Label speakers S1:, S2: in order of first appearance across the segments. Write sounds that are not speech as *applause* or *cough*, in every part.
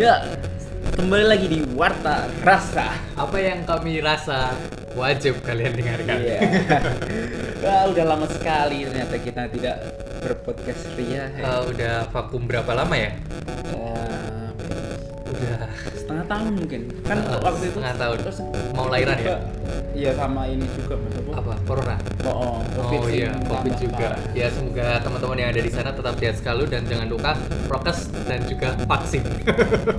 S1: Ya, kembali lagi di Warta Rasa.
S2: Apa yang kami rasa wajib kalian dengarkan. *laughs*
S1: Iya. Wah, udah lama sekali ternyata kita tidak berpodcast Ria.
S2: Eh, udah vakum berapa lama ya?
S1: Eh,
S2: Udah
S1: setengah tahun mungkin. Kan
S2: Eh,
S1: waktu itu
S2: setengah tahun.
S1: terus-
S2: Mau lahiran ya?
S1: Iya, sama ini juga Mas Apa?
S2: Apa? Corona.
S1: Oh, COVID
S2: Oh
S1: sih
S2: iya,
S1: tambah
S2: COVID juga.
S1: parah.
S2: Ya semoga teman-teman yang ada di sana tetap sehat selalu dan jangan lupa prokes dan juga vaksin.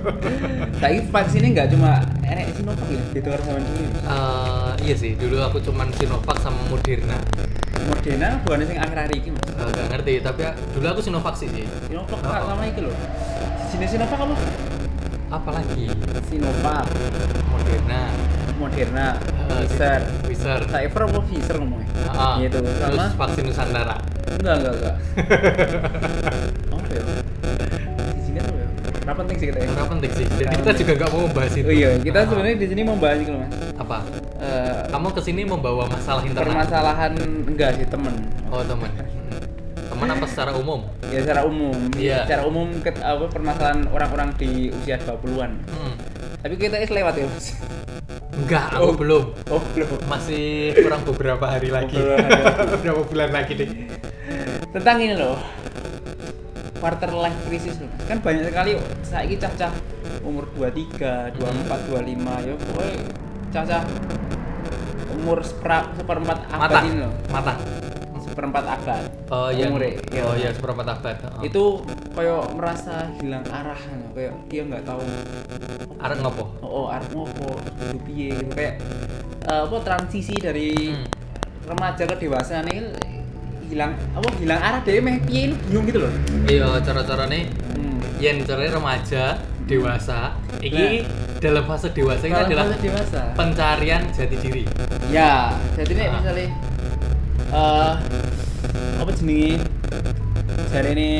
S2: *laughs*
S1: Tapi vaksinnya nggak cuma enek Sinovac ya, dituker sama dulu.
S2: Eh, iya sih, dulu aku cuman Sinovac sama Moderna.
S1: Moderna bukan sing akhir-akhir ini Mas.
S2: Eh, Nggak ngerti, tapi ya- dulu aku Sinovac sih. sih.
S1: Sinovac
S2: Oh.
S1: sama iki loh. Sini Sinovac apa?
S2: Apalagi
S1: Sinovac,
S2: Moderna,
S1: Moderna,
S2: Eh,
S1: Pfizer.
S2: Pfizer,
S1: Saya pernah mau Pfizer ngomongnya.
S2: Ah,
S1: Gitu. Sama
S2: terus vaksin Nusantara.
S1: enggak enggak
S2: *laughs*
S1: enggak. oh, ya. Singkat dulu ya. Kenapa penting sih kita ya?
S2: Karena penting sih. Jadi kita juga nggak mau membahas itu.
S1: Oh iya, kita
S2: Ah,
S1: sebenarnya di sini mau bahas gitu mas.
S2: apa?
S1: Eh,
S2: Kamu kesini membawa masalah internal.
S1: permasalahan enggak sih temen.
S2: Oh teman. Teman apa secara umum?
S1: Ya secara umum.
S2: Iya.
S1: Secara umum ke, apa, permasalahan orang-orang di usia 20-an.
S2: Hmm.
S1: Tapi kita is lewat ya mas.
S2: Enggak, aku
S1: Oh.
S2: belum.
S1: Oh belum.
S2: Masih kurang beberapa hari lagi.
S1: Beberapa hari
S2: *laughs* beberapa bulan lagi deh.
S1: Tentang ini loh. Quarter life crisis loh. Kan banyak sekali saya ini cah-cah umur 23, 24, 25 ya pokoknya cah-cah umur sepera- seperempat abad
S2: Mata.
S1: ini loh.
S2: Mata.
S1: Seperempat abad.
S2: Oh yang
S1: Umurnya, ya.
S2: Oh ya seperempat abad. Oh.
S1: Itu kayak merasa hilang arah loh. kayak dia nggak tahu
S2: Arek ngopo?
S1: oh, oh arep ngopo, kudu piye gitu kayak eh, apa transisi dari
S2: Hmm.
S1: remaja ke dewasa nih hilang apa hilang arah deh meh piye ini bingung gitu loh.
S2: Iya, cara-cara nih
S1: Hmm.
S2: yang caranya remaja, dewasa. Iki dalam fase dewasa ini
S1: Malah
S2: adalah
S1: Nah. fase dewasa.
S2: pencarian jati diri.
S1: Ya, jadi nek
S2: Ah.
S1: misalnya eh apa jenenge? Jari ini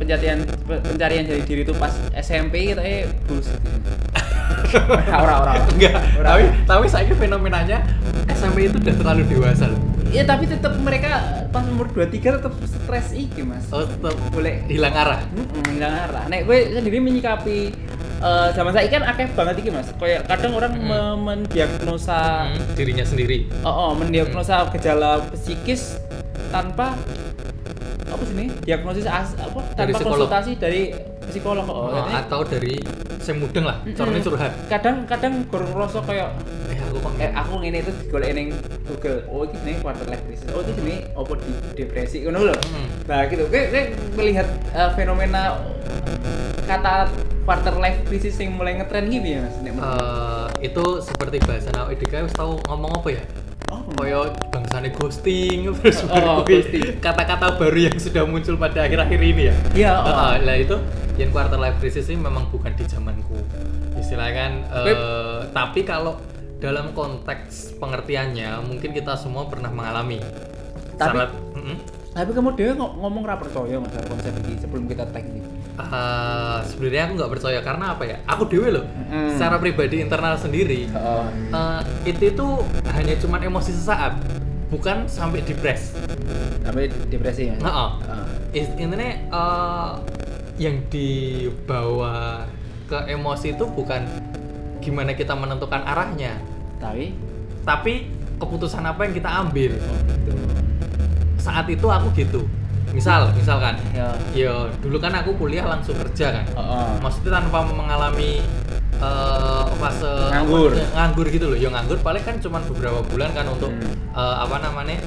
S1: pencarian pe- pencarian jati diri itu pas SMP kita eh bullshit. ora *laughs* ora ora.
S2: Enggak,
S1: Ora.
S2: tapi tapi saya fenomenanya SMP itu udah terlalu dewasa loh.
S1: Ya tapi tetap mereka pas umur 23 tetap stres iki, Mas.
S2: Oh, tetap
S1: Boleh
S2: hilang arah.
S1: Mm-mm, hilang arah. Nek gue sendiri menyikapi eh, zaman saya kan akeh banget iki, Mas. Kayak kadang orang
S2: Mm.
S1: me- mendiagnosa
S2: Hmm, dirinya sendiri.
S1: Oh, oh mendiagnosa gejala psikis tanpa apa sih ini? Diagnosis as, apa?
S2: Dari
S1: Tanpa
S2: psikolog.
S1: konsultasi dari psikolog. Oh,
S2: Oh,
S1: jadi
S2: atau dari semudeng lah,
S1: Mm-mm.
S2: caranya curhat.
S1: kadang-kadang gur ngerasa kayak
S2: Eh, aku kok
S1: eh aku ngene terus digoleki ning Google. Oh, iki jenenge quarter life crisis. Oh, iki jenenge opo di depresi ngono lho.
S2: Hmm.
S1: Nah, gitu. Gue, gue melihat eh, fenomena kata quarter life crisis yang mulai ngetren gitu ya, Mas. Nek menurut-
S2: Eh, itu seperti bahasa Nau IDK wis tahu ngomong apa ya?
S1: Oh,
S2: Koyo bangsane ghosting *laughs* terus
S1: Oh,
S2: baru
S1: oh, ghosting.
S2: *laughs* kata-kata baru yang sudah muncul pada akhir-akhir ini ya.
S1: Iya, oh.
S2: Ah, lah itu yang quarter life crisis ini memang bukan di zamanku. Istilahnya kan eh,
S1: Web.
S2: tapi kalau dalam konteks pengertiannya mungkin kita semua pernah mengalami.
S1: Tapi-
S2: Sangat- Mm-mm.
S1: Tapi kamu dewe ngo- ngomong ra percaya masalah konsep ini sebelum kita tag ini.
S2: Ah, sebenarnya aku nggak percaya karena apa ya? Aku dewe loh.
S1: Mm.
S2: Secara pribadi internal sendiri
S1: Oh.
S2: eh, itu itu hanya cuman emosi sesaat, bukan sampai depres.
S1: Sampai depresi ya.
S2: Heeh.
S1: Ah.
S2: Is- intinya eh, yang dibawa ke emosi itu bukan gimana kita menentukan arahnya,
S1: Tapi
S2: tapi keputusan apa yang kita ambil
S1: oh gitu.
S2: saat itu aku gitu. Misal, misalkan,
S1: Ya.
S2: yo dulu kan aku kuliah langsung kerja kan,
S1: Heeh.
S2: maksudnya tanpa mengalami eh, fase
S1: Nganggur.
S2: apa, nganggur gitu loh. Ya nganggur paling kan cuma beberapa bulan kan untuk
S1: Hmm.
S2: eh, apa namanya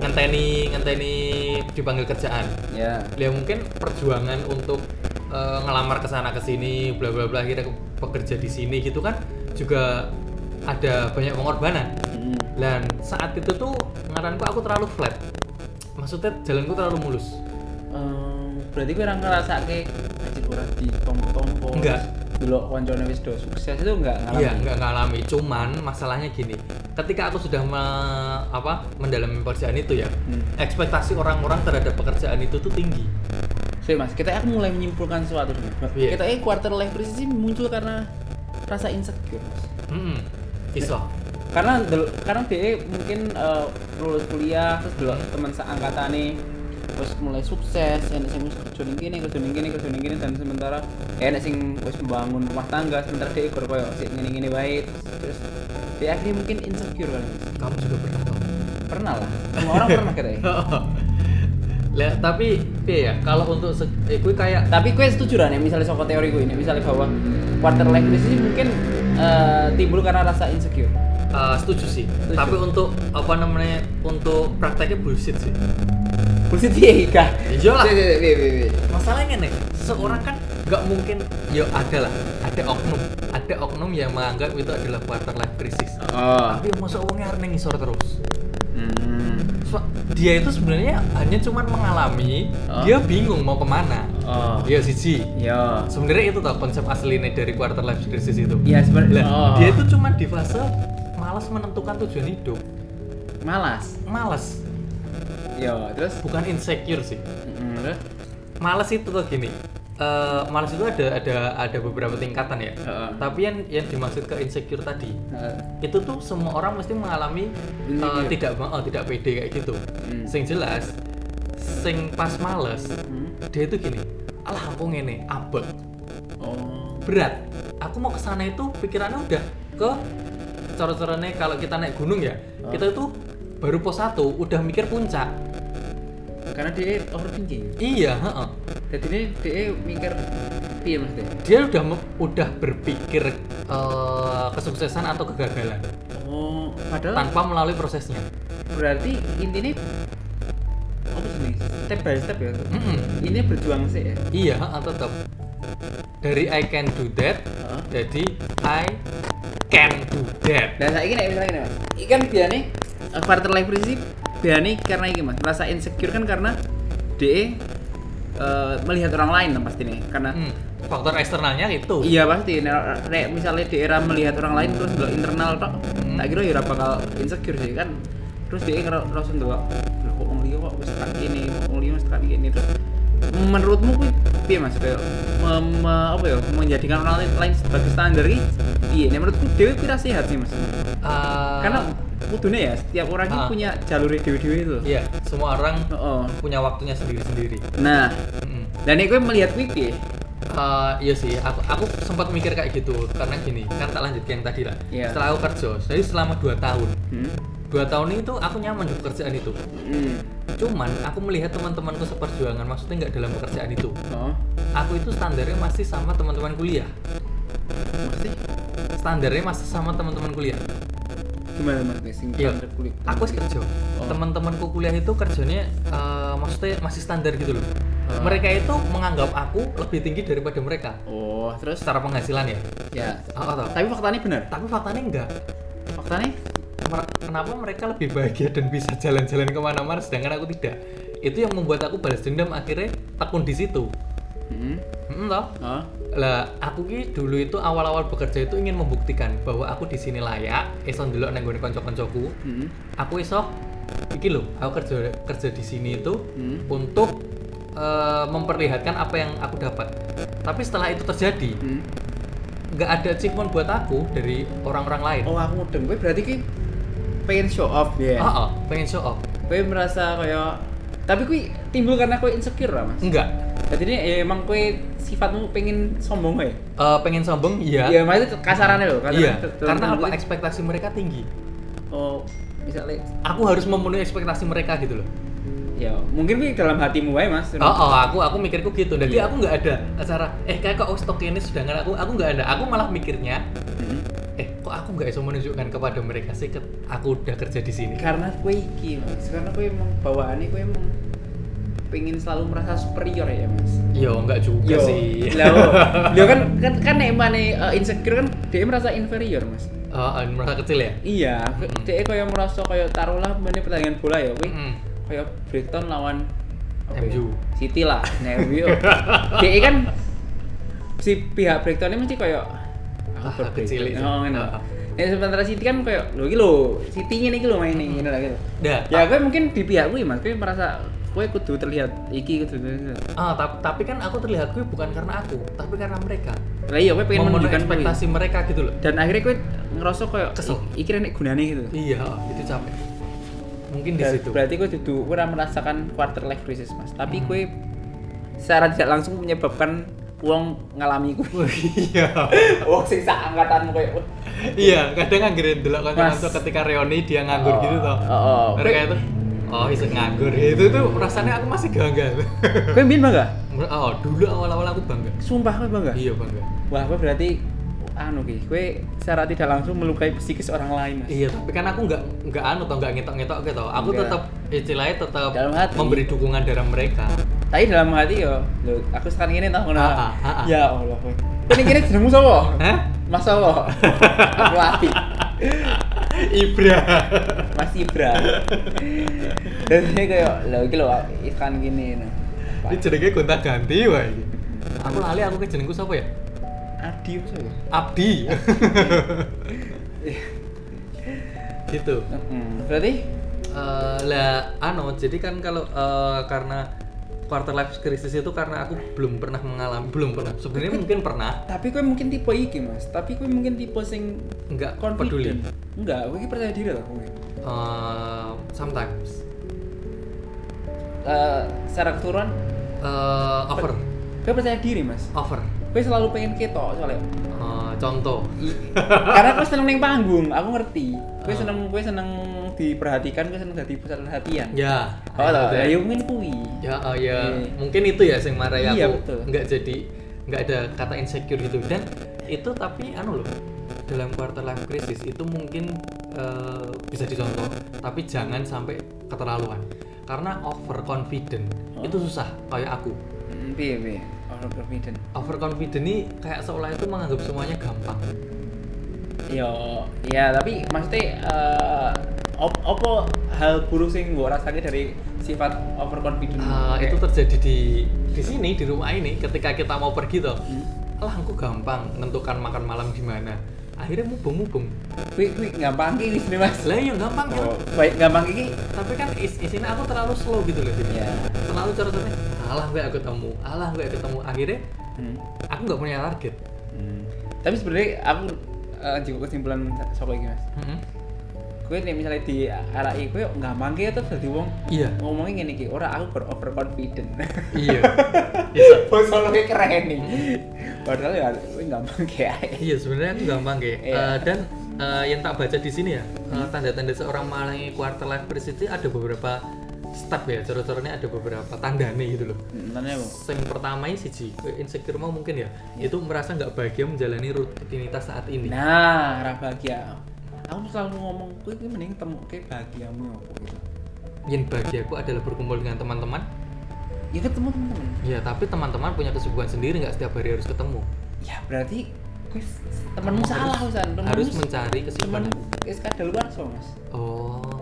S2: ngenteni ngenteni dipanggil kerjaan.
S1: Ya.
S2: ya mungkin perjuangan untuk eh, ngelamar ke sana ke sini bla bla bla akhirnya ke- bekerja di sini gitu kan juga ada banyak pengorbanan
S1: Mm.
S2: dan saat itu tuh ngaranku aku terlalu flat maksudnya jalanku terlalu mulus
S1: Eh, berarti gue orang ngerasa ke anjir ora di tompo-tompo.
S2: Enggak.
S1: Dulu koncone wis do sukses itu enggak
S2: Iya, nggak ngalami. Cuman masalahnya gini, ketika aku sudah me- apa mendalami pekerjaan itu ya,
S1: Hmm.
S2: ekspektasi orang-orang terhadap pekerjaan itu tuh tinggi.
S1: So, mas, kita aku mulai menyimpulkan sesuatu nih. Mas.
S2: Iya.
S1: Kita eh quarter life crisis ini muncul karena rasa insecure, Mas.
S2: Mm-mm. Iso.
S1: karena E del- karena dia mungkin eh, lulus kuliah terus dulu teman seangkatan nih terus mulai sukses enak sing wis kerja ning kene kerja ning kene kerja ning kene dan sementara enak sing wis membangun rumah tangga sementara dia ikut koyo sik ngene-ngene wae terus dia akhirnya mungkin insecure kali Mas.
S2: Kamu juga pernah toh?
S1: pernah lah semua orang pernah ya. *laughs* katanya
S2: *laughs* lah tapi piye ya kalau untuk se- eh, kui kayak
S1: tapi gue setuju lah nih misalnya soal teori gue ini misalnya bahwa quarter life crisis ini mungkin eh, timbul karena rasa insecure
S2: eh, setuju sih
S1: Setuju.
S2: tapi untuk apa namanya untuk prakteknya bullshit sih Iya.
S1: bullshit iya, piye Ika
S2: Ya iyalah
S1: Piye, piye, piye, piye.
S2: masalahnya nih seorang kan nggak mungkin ya ada lah ada oknum ada oknum yang menganggap itu adalah quarter life crisis
S1: oh
S2: tapi masa uangnya harus ngisor terus
S1: hmm.
S2: So- dia itu sebenarnya hanya cuman mengalami
S1: Oh.
S2: dia bingung mau kemana
S1: oh
S2: ya siji
S1: yo
S2: sebenarnya itu tau konsep aslinya dari quarter life crisis itu
S1: ya sebenarnya
S2: Lah,
S1: oh.
S2: dia itu cuman di fase malas menentukan tujuan hidup
S1: malas
S2: malas
S1: yo terus
S2: bukan insecure sih
S1: Mm, terus
S2: malas itu tuh gini Eh malas itu ada ada ada beberapa tingkatan ya
S1: Heeh.
S2: tapi yang yang dimaksud ke insecure tadi
S1: Heeh.
S2: itu tuh semua orang mesti mengalami eh,
S1: Insecure.
S2: tidak oh, tidak pede kayak gitu
S1: Hmm.
S2: sing jelas sing pas males
S1: Hmm.
S2: dia itu gini alah aku ngene abek
S1: oh
S2: berat aku mau kesana itu pikirannya udah ke cara-caranya kalau kita naik gunung ya
S1: Ah.
S2: kita itu baru pos 1 udah mikir puncak
S1: karena dia overthinking
S2: iya heeh.
S1: jadi ini dia mikir piye mas deh
S2: dia udah me- udah berpikir eh, kesuksesan atau kegagalan
S1: oh padahal
S2: tanpa melalui prosesnya
S1: berarti intinya apa sih nih step by step ya
S2: Mm-mm.
S1: ini berjuang sih ya
S2: iya heeh, tetap dari I can do that jadi I can do that
S1: dan saya ini Nah, misalnya gini mas ini kan dia nih uh, quarter life crisis dia nih karena ini mas merasa insecure kan karena dia uh, melihat orang lain lah pasti nih karena
S2: Hmm, faktor eksternalnya itu
S1: iya pasti nek- nek misalnya di era melihat orang lain terus lo internal tok
S2: Hmm.
S1: tak kira ya ora bakal insecure sih kan terus dia ngero- ngerasa ndelok "Loh, kok wong liya kok wis tekan kene kok wong liya wis tekan kene terus menurutmu kuwi piye Mas kayak mem- apa ya menjadikan orang lain- lain sebagai standar iki piye nek menurutku dhewe kuwi ra sehat sih Mas
S2: Eh,
S1: karena kudunya ya setiap orang itu
S2: Ah.
S1: punya jalurnya dewi-dewi itu
S2: iya semua orang
S1: oh
S2: punya waktunya sendiri-sendiri
S1: nah
S2: Mm-mm.
S1: dan ini gue melihat wiki
S2: Eh, iya sih, aku, aku sempat mikir kayak gitu karena gini, kan tak lanjut yang tadi lah.
S1: Iya.
S2: Setelah aku kerja, jadi selama 2 tahun,
S1: hmm.
S2: 2 tahun itu aku nyaman di pekerjaan itu.
S1: Hmm.
S2: Cuman aku melihat teman-temanku seperjuangan, maksudnya nggak dalam pekerjaan itu.
S1: oh
S2: Aku itu standarnya masih sama teman-teman kuliah.
S1: pasti
S2: Standarnya masih sama teman-teman kuliah.
S1: gimana mas nih sing
S2: Iya.
S1: standar kulit
S2: Aku wis kerja.
S1: Oh.
S2: Teman-temanku kuliah itu kerjanya eh, maksudnya masih standar gitu loh.
S1: Ah.
S2: Mereka itu menganggap aku lebih tinggi daripada mereka
S1: oh terus
S2: secara penghasilan ya.
S1: ya
S2: Oh, oh, tau.
S1: tapi faktanya benar
S2: Tapi faktanya enggak.
S1: faktanya
S2: Mer- kenapa mereka lebih bahagia dan bisa jalan-jalan kemana-mana sedangkan aku tidak itu yang membuat aku balas dendam akhirnya tekun di situ
S1: hmm.
S2: Mm, toh
S1: oh
S2: lah aku ki dulu itu awal-awal bekerja itu ingin membuktikan bahwa aku di sini layak iso ndelok nang nggone kanca-kancaku
S1: hmm.
S2: aku iso iki loh aku kerja kerja di sini itu
S1: Hmm.
S2: untuk eh, memperlihatkan apa yang aku dapat tapi setelah itu terjadi
S1: Hmm.
S2: nggak ada achievement buat aku dari orang-orang lain
S1: oh aku mudeng gue berarti ki pengen show off ya
S2: Ah, ah, pengen show off
S1: gue merasa kayak tapi kui timbul karena kue insecure lah mas
S2: enggak
S1: jadi ini ya, emang kue sifatmu pengen sombong ya
S2: Eh, pengen sombong iya
S1: Iya, maksudnya kasarannya loh. kasarannya
S2: Iya,
S1: tuh- tuh-
S2: karena
S1: tuh-
S2: apa
S1: tuh-
S2: ekspektasi mereka tinggi.
S1: Oh, misalnya,
S2: Aku harus memenuhi ekspektasi mereka gitu loh.
S1: ya mungkin ini dalam hatimu aja mas.
S2: Oh, oh, aku aku mikirku gitu. Jadi
S1: Iya.
S2: aku nggak ada acara. Eh, kayak kok oh, stok ini sedangkan aku aku nggak ada. Aku malah mikirnya,
S1: Hmm.
S2: eh kok aku nggak bisa menunjukkan kepada mereka sih ke- aku udah kerja di sini.
S1: Karena kue iki mas, karena kue emang bawaannya kue emang pengen selalu merasa superior ya mas.
S2: Yo, nggak juga Iya sih.
S1: Lah,
S2: *laughs*
S1: oh. Lah, kan kan kan nek mane uh, insecure kan dia merasa inferior mas.
S2: Oh, oh, merasa kecil ya.
S1: Iya,
S2: Mm-mm.
S1: dia kayak merasa kayak taruhlah mana pertandingan bola ya kue
S2: Mm.
S1: kayak Brighton lawan apa ya?
S2: MU.
S1: City lah, nah,
S2: *laughs*
S1: MU. DE kan si pihak Brighton ini mesti kayak
S2: Ah,
S1: aku
S2: kecil
S1: berkecil.
S2: itu.
S1: Oh, ngono.
S2: Ah.
S1: Nah, sementara City kan kayak lho iki lho, City ngene iki lho main ini ngono lah gitu.
S2: Dah.
S1: Ya, gue mungkin di pihak gue Mas, gue merasa gue kudu terlihat iki kudu terlihat.
S2: Ah, tap- tapi kan aku terlihat gue bukan karena aku, tapi karena mereka.
S1: Lah iya, gue pengen
S2: Memenuhi
S1: menunjukkan gue.
S2: ekspektasi mereka gitu loh.
S1: Dan akhirnya gue ngerasa kayak
S2: Kesel.
S1: "I- iki rene gunane gitu.
S2: Iya, itu capek. oh, mungkin di
S1: Ber-
S2: situ Hmm.
S1: Berarti gue duduk, gue ora merasakan quarter life crisis mas. Tapi gue secara tidak langsung menyebabkan uang ngalami gue.
S2: Wah, iya
S1: Uang sisa angkatan gue.
S2: iya kadang nganggur delok
S1: Mas.
S2: kanca-kanca ketika reuni dia
S1: Oh,
S2: nganggur gitu toh
S1: oh, oh.
S2: mereka itu oh iseng nganggur itu tuh rasanya aku masih gagal
S1: gue mbien bangga.
S2: *laughs* oh dulu awal-awal aku bangga
S1: Sumpah gue bangga.
S2: iya bangga
S1: Wah gue berarti anu ki, gue secara tidak langsung melukai psikis orang lain mas.
S2: Iya, tapi kan aku nggak nggak anu atau nggak ngetok-ngetok gitu. Aku
S1: Nggak.
S2: tetap istilahnya tetap
S1: Dalam hati.
S2: memberi dukungan dari mereka.
S1: Tapi dalam hati yo, lo aku sekarang ini tau
S2: Ah,
S1: kenapa?
S2: ah, ah, ah.
S1: Ya Allah gue. Ini kini jenengmu
S2: *laughs*
S1: sapa?
S2: Hah?
S1: Mas sapa? Aku latih.
S2: Ibra.
S1: Mas Ibra. Jadi kayak lo iki lo ikan gini nah.
S2: Ini jenenge gonta ganti wae iki. Aku lali aku ke jenengku siapa ya?
S1: Adi apa sih?
S2: Abdi. *laughs* gitu.
S1: Hmm. Berarti
S2: Eh, lah ano jadi kan kalau eh, karena quarter life crisis itu karena aku belum pernah mengalami belum pernah sebenarnya mungkin pernah
S1: tapi gue mungkin tipe iki mas, tapi gue mungkin tipe sing
S2: nggak peduli
S1: confident. Enggak, gue iki percaya diri lah gue.
S2: Eh, sometimes
S1: Eh, secara keturunan
S2: Eh, over
S1: gue percaya diri mas.
S2: over
S1: Gue selalu pengen ketok soalnya.
S2: Eh, contoh
S1: I- Karena gue seneng neng panggung, aku ngerti. Gue seneng gue seneng diperhatikan, gue seneng jadi pusat perhatian.
S2: ya
S1: Oh,
S2: ayo,
S1: lah,
S2: Teh.
S1: ya mungkin kui.
S2: ya oh, ya
S1: Iya.
S2: mungkin itu ya sing marai
S1: Iya,
S2: aku
S1: betul. Iya.
S2: nggak jadi nggak ada kata insecure gitu dan itu tapi anu loh dalam quarter life crisis itu mungkin eh, bisa dicontoh tapi jangan sampai keterlaluan karena overconfident
S1: Oh.
S2: itu susah kayak aku
S1: Hmm, Piye piye, orang confident.
S2: overconfident ini kayak seolah itu menganggap semuanya gampang
S1: Yo, ya tapi maksudnya eh op opo hal buruk sing gue rasanya dari sifat overconfident
S2: Eh, itu terjadi di di sini di rumah ini ketika kita mau pergi tuh
S1: Hmm.
S2: alah aku gampang menentukan makan malam gimana akhirnya mubeng mubeng
S1: Wih, wih, gampang ki wis nih, mas.
S2: lah ya gampang kan
S1: Oh, baik gampang iki.
S2: tapi kan is isinya aku terlalu slow gitu loh jadi
S1: Ya.
S2: terlalu cara caranya alah gue aku ketemu alah gue aku ketemu akhirnya
S1: Hmm.
S2: aku nggak punya target
S1: Tapi sebenarnya aku eh, juga kesimpulan soal iki mas. Gue nih misalnya di arah iki, gue gampang ki ya, terus jadi wong
S2: iya
S1: ngomongnya gini ki, ora aku ber overconfident.
S2: iya bisa
S1: *laughs* Soalnya keren nih. Padahal ya gue gampang ki ae.
S2: iya sebenarnya aku gampang kayak
S1: Iya.
S2: Eh, dan eh, yang tak baca di sini ya eh, tanda-tanda seorang mengalami quarter life crisis itu ada beberapa step ya cara-caranya ada beberapa tandanya gitu loh
S1: Hmm, Tanya apa?
S2: yang pertama siji eh, insecure mau mungkin ya itu merasa nggak bahagia menjalani rutinitas saat ini
S1: Nah, ra bahagia. Aku selalu ngomong, kowe iki mending temokke bahagiamu apa gitu.
S2: yang bahagiaku adalah berkumpul dengan teman-teman
S1: Ya ketemu temen.
S2: Ya, tapi teman-teman punya kesibukan sendiri nggak setiap hari harus ketemu.
S1: Ya berarti kowe s- temenmu
S2: Kamu
S1: salah
S2: harus-
S1: Usan. Temenmu
S2: harus
S1: s-
S2: mencari kesibukan.
S1: temenmu wis kadaluarsa, Mas.
S2: Oh.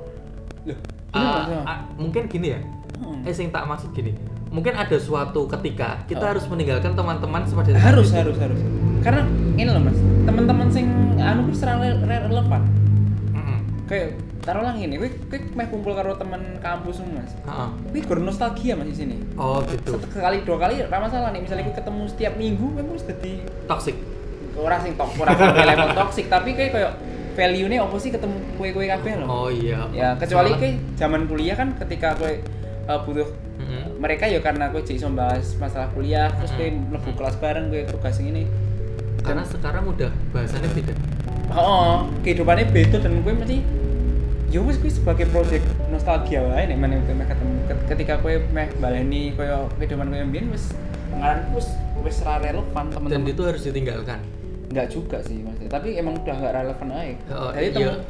S1: Loh,
S2: Ah,
S1: bener, Mas?
S2: ah, mungkin gini ya.
S1: Hmm.
S2: Eh, sing tak maksud gini. Mungkin ada suatu ketika
S1: Oh.
S2: kita harus meninggalkan teman-teman seperti
S1: harus harus harus. Karena ini loh, Mas. Teman-teman sing anu kuwi serang relevan.
S2: Heeh.
S1: Kayak taruhlah ngene, kowe kowe meh kumpul karo temen kampus Mas.
S2: Heeh.
S1: Kowe gur nostalgia Mas di sini.
S2: Oh, gitu.
S1: Sekali dua kali ra masalah nih, misalnya
S2: Nah.
S1: kowe ketemu setiap minggu, kowe mesti dadi
S2: Toxic.
S1: ora sing tok ora sampai level toxic tapi kayak kayak value nya opo sih ketemu kue kue kabeh loh
S2: Oh iya.
S1: ya kecuali
S2: Soalnya-
S1: kayak zaman kuliah kan ketika kue eh, butuh
S2: Mm-mm.
S1: mereka ya karena kue jadi iso bahas masalah kuliah terus kue
S2: Mm-mm.
S1: mlebu kelas bareng kue tugas yang ini
S2: Karena sekarang udah bahasannya beda.
S1: oh, oh, kehidupannya beda dan kue mesti ya wis kue sebagai project nostalgia wae nek meneh kue meh ketemu Ket- ketika kue meh baleni kue kehidupan kue yang biyen wis ngaran wis wis ra relevan
S2: Dan
S1: teman-teman
S2: itu harus ditinggalkan.
S1: Enggak juga sih maksudnya, tapi emang udah nggak relevan aja.
S2: Oh,
S1: Jadi
S2: iya.
S1: temu-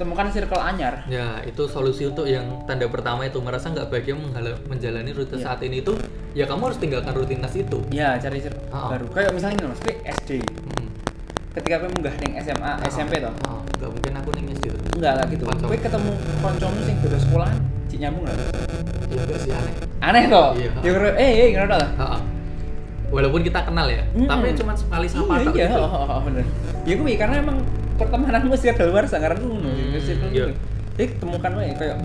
S1: temukan circle anyar.
S2: Ya, itu solusi untuk yang tanda pertama itu merasa nggak bahagia menghal- menjalani rutinitas
S1: Iya.
S2: saat ini itu, ya kamu harus tinggalkan rutinitas itu.
S1: Ya cari circle
S2: Oh.
S1: baru. Kayak misalnya ini mas, kayak SD.
S2: Mm.
S1: Ketika aku munggah neng SMA, SMP toh,
S2: Oh, nggak mungkin aku nangis gitu.
S1: enggak lah gitu.
S2: Kocok.
S1: Kue ketemu koncomu sing beda sekolahan, cik nyambung Iya, nggak?
S2: Ya enggak sih aneh.
S1: Aneh toh.
S2: Iya.
S1: Ya kira, eh, eh kenapa lah?
S2: Ha-ha. Walaupun kita kenal ya,
S1: Mm-mm.
S2: tapi cuma sekali sapa
S1: Iya,
S2: tok
S1: *laughs* iya,
S2: gitu.
S1: oh, oh, oh, bener. Ya gue karena emang pertemanan gue sih ada luar sangar gue ngono.
S2: Hmm,
S1: Jadi circle
S2: iya.
S1: gue. Jadi ketemukan wae kayak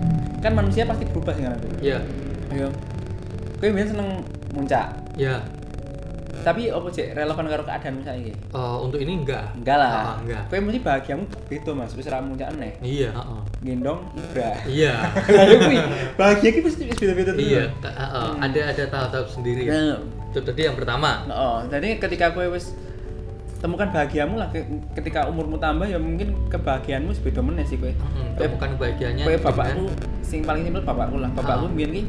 S1: kan manusia pasti berubah sih kan.
S2: Iya.
S1: Ayo. Kue biasanya seneng muncak,
S2: Ya,
S1: tapi opo cek relevan karo keadaan saiki
S2: eh, untuk ini enggak.
S1: enggak
S2: Ah,
S1: lah
S2: enggak.
S1: kowe mesti bahagiamu beda mas wis ra muncak aneh
S2: Iya, ha-ha.
S1: gendong ibra *laughs*
S2: iya
S1: lalu kui bahagia ki pasti wis beda-beda terus.
S2: iya Ka- eh, eh, ada ada tahap-tahap sendiri ya.
S1: Nah,
S2: itu tadi yang pertama
S1: Oh, jadi ketika kowe wis temukan bahagiamu lah ke- ketika umurmu tambah ya mungkin kebahagiaanmu wis beda meneh sih kowe.
S2: Hmm,
S1: Kowe-
S2: temukan kebahagiaannya gitu kan.
S1: Kowe
S2: dengan-
S1: bapakku sing paling simpel bapakku lah. Bapakku
S2: Ah.
S1: mbiyen ki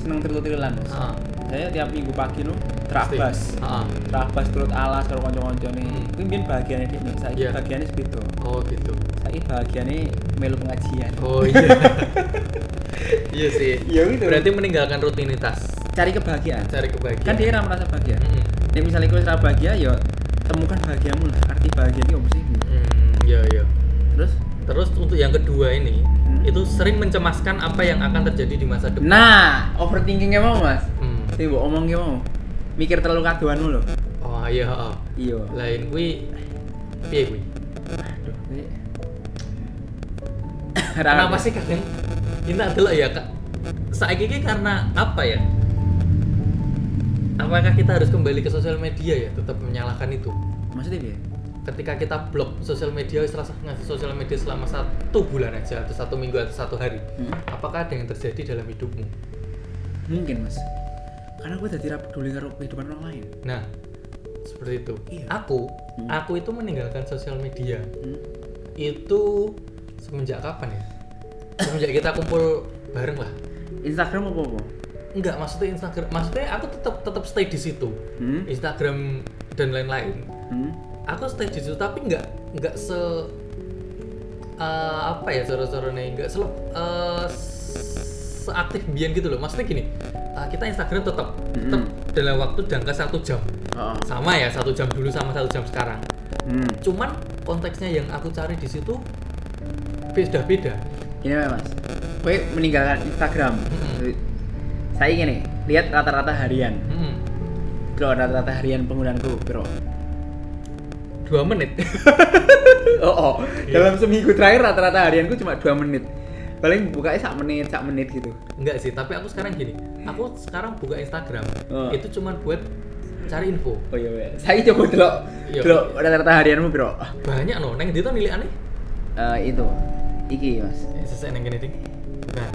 S1: seneng trilu-trilulan. Mas.
S2: Ah,
S1: Saya tiap minggu pagi lu
S2: pasti.
S1: terabas.
S2: Ah, ah.
S1: Terabas turut alas karo kanca-kancane.
S2: Hmm.
S1: Kuwi mbiyen bahagiane dhek nih. Saiki
S2: Iya.
S1: bahagiane wis beda.
S2: oh gitu
S1: Saiki bahagiane melu pengajian.
S2: oh iya *laughs* iya sih
S1: Iya gitu.
S2: berarti meninggalkan rutinitas
S1: cari kebahagiaan.
S2: cari kebahagiaan
S1: Kan dia ora merasa bahagia.
S2: Mm-mm.
S1: Nek misalnya kowe ora bahagia ya temukan bahagiamu lah. Arti bahagia ki opo sih?
S2: Hmm, iya iya.
S1: Terus
S2: Terus untuk yang kedua ini,
S1: Hmm.
S2: itu sering mencemaskan apa yang akan terjadi di masa depan.
S1: Nah, overthinkingnya mau mas?
S2: Hmm.
S1: Tapi mbok omongnya mau? Mikir terlalu kaduanmu loh
S2: Oh iya, oh.
S1: Iya
S2: lain kui, piye kui?
S1: Aduh ini- *coughs*
S2: Kenapa
S1: Ra-
S2: sih kalian? Ini adalah ya kak. Saat ini karena apa ya? Apakah kita harus kembali ke sosial media ya? Tetap menyalahkan itu.
S1: Maksudnya piye?
S2: Ketika kita blok sosial media, serasa ngasih sosial media selama satu bulan aja atau satu minggu atau satu hari.
S1: Hmm?
S2: Apakah ada yang terjadi dalam hidupmu?
S1: Mungkin mas Karena gue tadi tidak peduli karo kehidupan orang lain
S2: Nah, seperti itu.
S1: Iya.
S2: Aku,
S1: Hmm.
S2: aku itu meninggalkan sosial media
S1: Hmm.
S2: itu semenjak kapan ya? Semenjak kita kumpul bareng lah.
S1: Instagram apa apa?
S2: Enggak, maksudnya Instagram, maksudnya aku tetap tetap stay di situ.
S1: Hmm?
S2: Instagram dan lain-lain.
S1: Hmm?
S2: Aku stay di situ tapi enggak enggak se eh, apa ya cara-caranya enggak se eh, seaktif bian gitu loh. Maksudnya gini, eh, kita Instagram tetap tetap
S1: Hmm.
S2: dalam waktu jangka satu jam
S1: Oh, oh.
S2: sama ya satu jam dulu sama satu jam sekarang
S1: Hmm.
S2: cuman konteksnya yang aku cari di situ beda beda
S1: Gini wae, mas Gue meninggalkan Instagram
S2: Mm-mm.
S1: Saya gini Lihat rata-rata harian Bro, rata-rata harian penggunaanku Bro
S2: dua menit *laughs*
S1: oh, oh.
S2: Iya.
S1: dalam seminggu terakhir rata-rata harianku cuma 2 menit paling bukanya sak menit sak menit gitu
S2: enggak sih tapi aku sekarang gini aku sekarang buka Instagram
S1: Hmm. Oh.
S2: itu cuman buat cari
S1: oh
S2: info
S1: iya weh. saya coba delok
S2: Iya.
S1: delok rata-rata harianmu bro
S2: banyak loh neng itu nilai aneh
S1: Eh, itu iki mas
S2: sesuai neng genetik bukan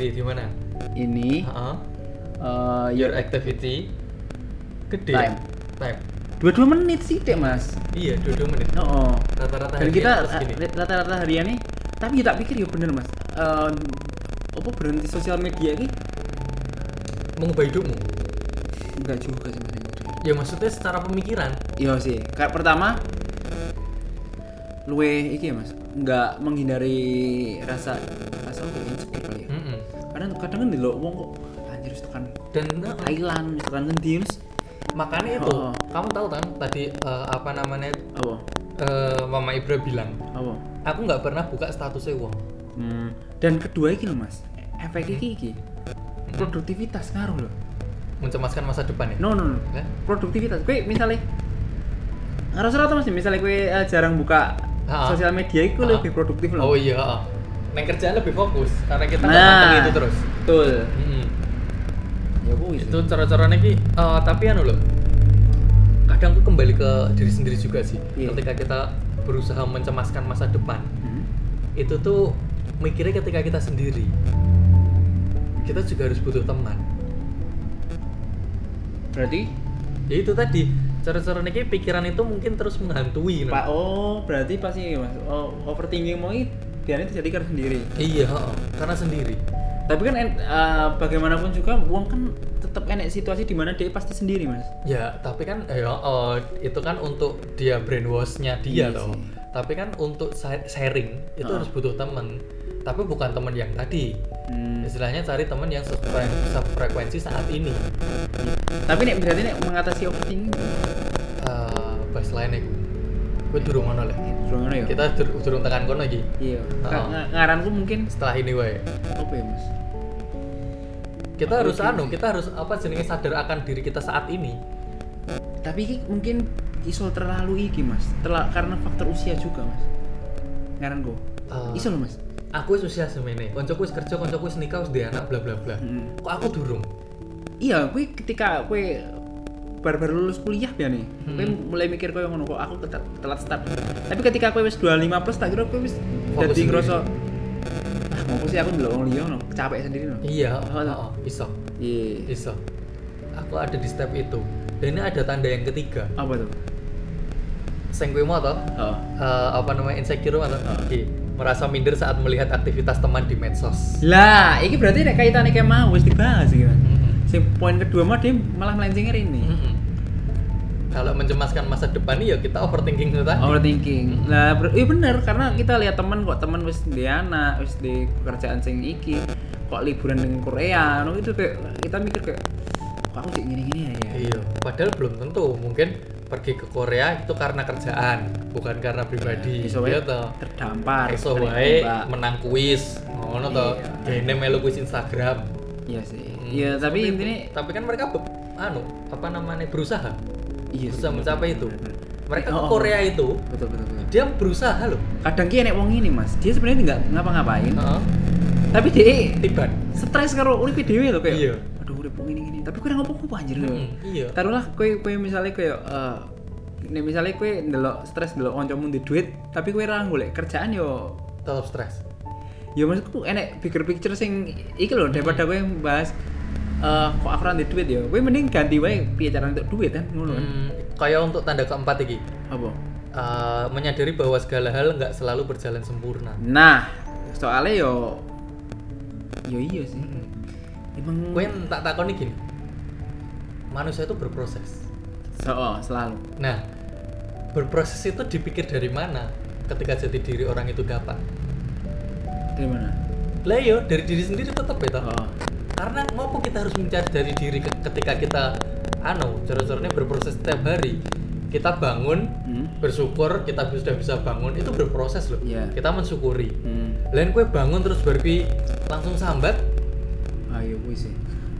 S2: di di mana
S1: ini
S2: Ha-ha.
S1: eh
S2: your activity gede
S1: Time.
S2: time
S1: dua-dua menit sih dek mas
S2: iya dua dua menit
S1: oh, oh. dan
S2: rata-rata harian
S1: kita eh,
S2: terus Nah, gini.
S1: rata-rata harian nih tapi ya tak pikir ya bener mas Eh, apa berhenti sosial media ini
S2: mengubah hidupmu
S1: enggak juga sih mas
S2: ya maksudnya secara pemikiran
S1: Iya sih. Kayak pertama luwe iki ya, Mas. Enggak menghindari rasa rasa apa ya, insecure kali ya.
S2: Mm-mm.
S1: Karena kadang kan delok wong kok anjir wis tekan
S2: dan
S1: Thailand, wis tekan ngendi wis
S2: makanya itu
S1: Oh.
S2: kamu tahu kan tadi eh, apa namanya
S1: apa?
S2: eh, mama Ibra bilang
S1: Apa?
S2: aku nggak pernah buka statusnya wong
S1: Hmm. Dan kedua iki loh, Mas. Efek iki iki. Produktivitas ngaruh loh.
S2: mencemaskan masa depan ya
S1: No, no, no.
S2: Hah?
S1: Produktivitas. Kowe misalnya harus rata Mas, misalnya kowe eh, jarang buka
S2: Ha-ha.
S1: sosial media itu
S2: Ha-ha.
S1: lebih produktif loh.
S2: oh iya heeh. neng kerjaan lebih fokus karena kita nggak
S1: Nah.
S2: mantengin itu terus
S1: Betul.
S2: Mm-mm.
S1: Ya kuwi sih.
S2: itu cara-caranya ki eh, tapi anu loh kadang tuh kembali ke diri sendiri juga sih
S1: Iya.
S2: ketika kita berusaha mencemaskan masa depan
S1: Hmm.
S2: itu tuh mikirnya ketika kita sendiri kita juga harus butuh teman
S1: Berarti
S2: ya itu tadi cara-cara ini pikiran itu mungkin terus menghantui kan? no?
S1: Pak oh berarti pasti mas oh, overthinking mau itu biarnya terjadi karena sendiri.
S2: iya heeh. karena sendiri
S1: Tapi kan en- eh, bagaimanapun juga uang kan tetap enek situasi di mana dia pasti sendiri mas.
S2: ya tapi kan ya eh, itu kan untuk dia brainwashnya dia
S1: Iya
S2: toh
S1: sih.
S2: tapi kan untuk sa- sharing itu
S1: Heeh.
S2: harus butuh teman tapi bukan teman yang tadi istilahnya cari teman yang sefre- sefrekuensi saat ini
S1: Iya. Tapi nek berarti nek mengatasi overthinking
S2: Eh, bahas lainnya gue gue durung ngono lah
S1: belum ngono ya.
S2: kita dur- durung tekan kono lagi
S1: Iya.
S2: Heeh.
S1: Ka- nga- Ngaranku mungkin
S2: setelah ini wae
S1: apa ya mas?
S2: kita harus anu kita harus apa jenenge sadar akan diri kita saat ini
S1: Tapi iki mungkin iso terlalu iki mas. Terla- karena faktor usia juga mas. Ngaran gue.
S2: Eh,
S1: Iso loh mas.
S2: aku wis usia semene koncoku wis kerja koncoku wis nikah wis duwe anak bla bla bla
S1: Mm.
S2: kok aku durung
S1: iya gue ketika gue baru-baru lulus kuliah ya nih gue
S2: Hmm.
S1: mulai mikir gue ngono kok aku ketel- telat start tapi ketika gue wis 25 plus tak kira gue wis
S2: Fokus
S1: jadi
S2: sendiri.
S1: ngerasa ah ngopo sih aku ndelok wong liya no capek sendiri no
S2: Iya,
S1: Oh, no.
S2: oh, iso,
S1: iya
S2: iso. Aku ada di step itu. Dan ini ada tanda yang ketiga.
S1: apa tuh
S2: Sing kuwi mau toh,
S1: oh
S2: eh, apa namanya insecure mau toh?
S1: Ah.
S2: Iki, merasa minder saat melihat aktivitas teman di medsos.
S1: lah ini berarti nek kaitannya kayak mau wis dibahas gitu
S2: Mm-mm.
S1: si poin kedua mah dia malah melencengin ini
S2: Mm-mm. Kalau mencemaskan masa depan ya kita overthinking itu
S1: Oh.
S2: tadi.
S1: overthinking lah ber- iya bener karena kita lihat temen kok temen wis di anak wis di pekerjaan sing iki kok liburan dengan Korea no itu kayak kita mikir kayak kok aku sih gini gini ya ya
S2: Iya, padahal belum tentu. Mungkin pergi ke Korea itu karena kerjaan, bukan karena pribadi.
S1: iso
S2: Iya
S1: wae
S2: toh.
S1: terdampar
S2: Iso
S1: kena
S2: wae
S1: tembak.
S2: menang kuis, ngono toh.
S1: Iya.
S2: Gene melu kuis Instagram.
S1: iya sih
S2: Hmm,
S1: iya tapi
S2: seperti
S1: intinya
S2: itu. tapi kan mereka be- anu, apa namanya? berusaha.
S1: iya sih,
S2: Berusaha
S1: bener,
S2: mencapai
S1: bener,
S2: itu.
S1: bener.
S2: Mereka ke
S1: Oh.
S2: Korea itu,
S1: betul betul betul
S2: dia berusaha loh.
S1: kadang ki enek wong ini mas dia sebenarnya nggak ngapa-ngapain
S2: Heeh.
S1: tapi dia
S2: Tiban.
S1: stres karo uripe dhewe lho kayak
S2: Iya.
S1: aduh urip gini gini tapi kira ngopo ngopo anjir
S2: Mm, iya.
S1: taruhlah kue kue misalnya kue eh nek misalnya kue ndelok stres ndelok kancamu di duit tapi kue ra golek kerjaan yo
S2: Tetap stres.
S1: ya maksudku enek bigger picture sing iki lho daripada kue bahas eh kok aku ra di duit ya kue mending ganti wae piye cara untuk duit kan ngono kan
S2: Hmm, kayak untuk tanda keempat iki.
S1: apa
S2: Eh, menyadari bahwa segala hal nggak selalu berjalan sempurna.
S1: nah soalnya yo yo iya sih emang
S2: Gue yang tak takoni gini. Manusia itu berproses.
S1: so, oh, selalu
S2: Nah, berproses itu dipikir dari mana ketika jati diri orang itu dapat?
S1: dari mana
S2: Lah yo, dari diri sendiri tetap ya toh.
S1: oh
S2: Karena ngopo kita harus mencari dari diri ke- ketika kita anu, cara-caranya berproses setiap hari. Kita bangun,
S1: hmm
S2: bersyukur kita bi- sudah bisa bangun itu berproses loh.
S1: Iya.
S2: Kita mensyukuri.
S1: hmm
S2: Lain kue bangun terus berpi langsung sambat
S1: ayo Ah, iya, kuwi sih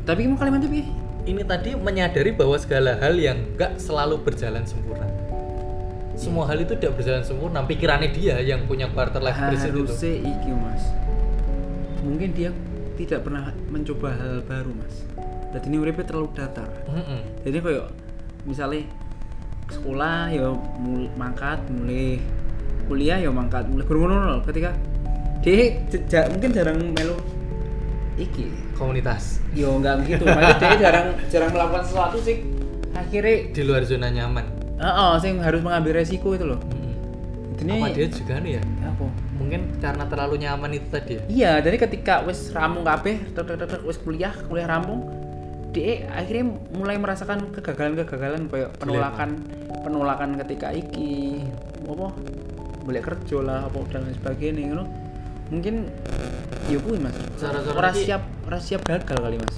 S1: tapi kamu kalimatnya piye
S2: ini tadi menyadari bahwa segala hal yang nggak selalu berjalan sempurna. Semua hal itu tidak berjalan sempurna. Pikirannya dia yang punya quarter life crisis gitu. itu.
S1: harusnya iki mas mungkin dia tidak pernah mencoba hal baru mas jadi ini uripnya terlalu datar
S2: Mm-mm.
S1: jadi kayak misalnya sekolah ya mul- mangkat mulai kuliah ya mangkat mulai kurang ketika dia j- ja- mungkin jarang melu iki
S2: Komunitas
S1: yo nggak begitu maksudnya dia jarang jarang melakukan sesuatu sih akhirnya
S2: di luar zona nyaman.
S1: oh, sing harus mengambil resiko itu loh
S2: Mm-mm.
S1: jadi
S2: Apa dia juga nih ya?
S1: apa
S2: Mungkin karena terlalu nyaman itu tadi ya.
S1: Iya, jadi ketika wis rampung kabeh, tek, tek, tek, tek, wis kuliah, kuliah rampung, dia akhirnya mulai merasakan kegagalan-kegagalan kayak penolakan penolakan ketika iki apa boleh kerja lah apa dan lain sebagainya ngono. Mungkin ya kuwi Mas.
S2: Cara-cara
S1: Ora
S2: iki-
S1: siap ora siap gagal kali Mas.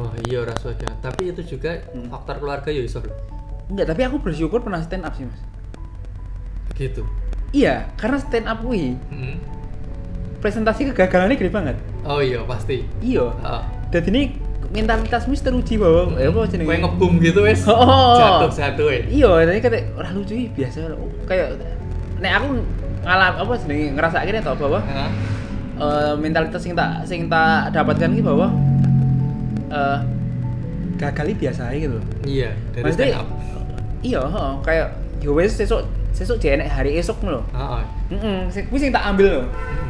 S2: Oh iya rasa dia. Tapi itu juga faktor keluarga ya iso loh.
S1: Enggak, tapi aku bersyukur pernah stand up sih Mas.
S2: Gitu.
S1: Iya, karena stand up kuwi
S2: Mm-mm.
S1: presentasi kegagalannya gede banget.
S2: Oh iya pasti.
S1: Iya.
S2: Ah.
S1: Dan ini mentalitasmu teruji bahwa eh apa jenenge?
S2: Kue ngebum gitu wes.
S1: Oh.
S2: Jatuh satu eh.
S1: iya tadi kata orang lucu ini biasa oh, kayak nek aku ngalam apa sih ngerasa akhirnya tau bahwa
S2: Hah?
S1: eh, mentalitas yang tak sing tak dapatkan ini bahwa eh gagal ini biasa aja gitu loh.
S2: Iya dari
S1: Maksudnya,
S2: stand up.
S1: iya heeh, kayak yo wes sesuk sesuk jenek hari esok lho
S2: Ah, Hmm. ah.
S1: heeh sing kuwi sing tak ambil loh
S2: Mm-mm.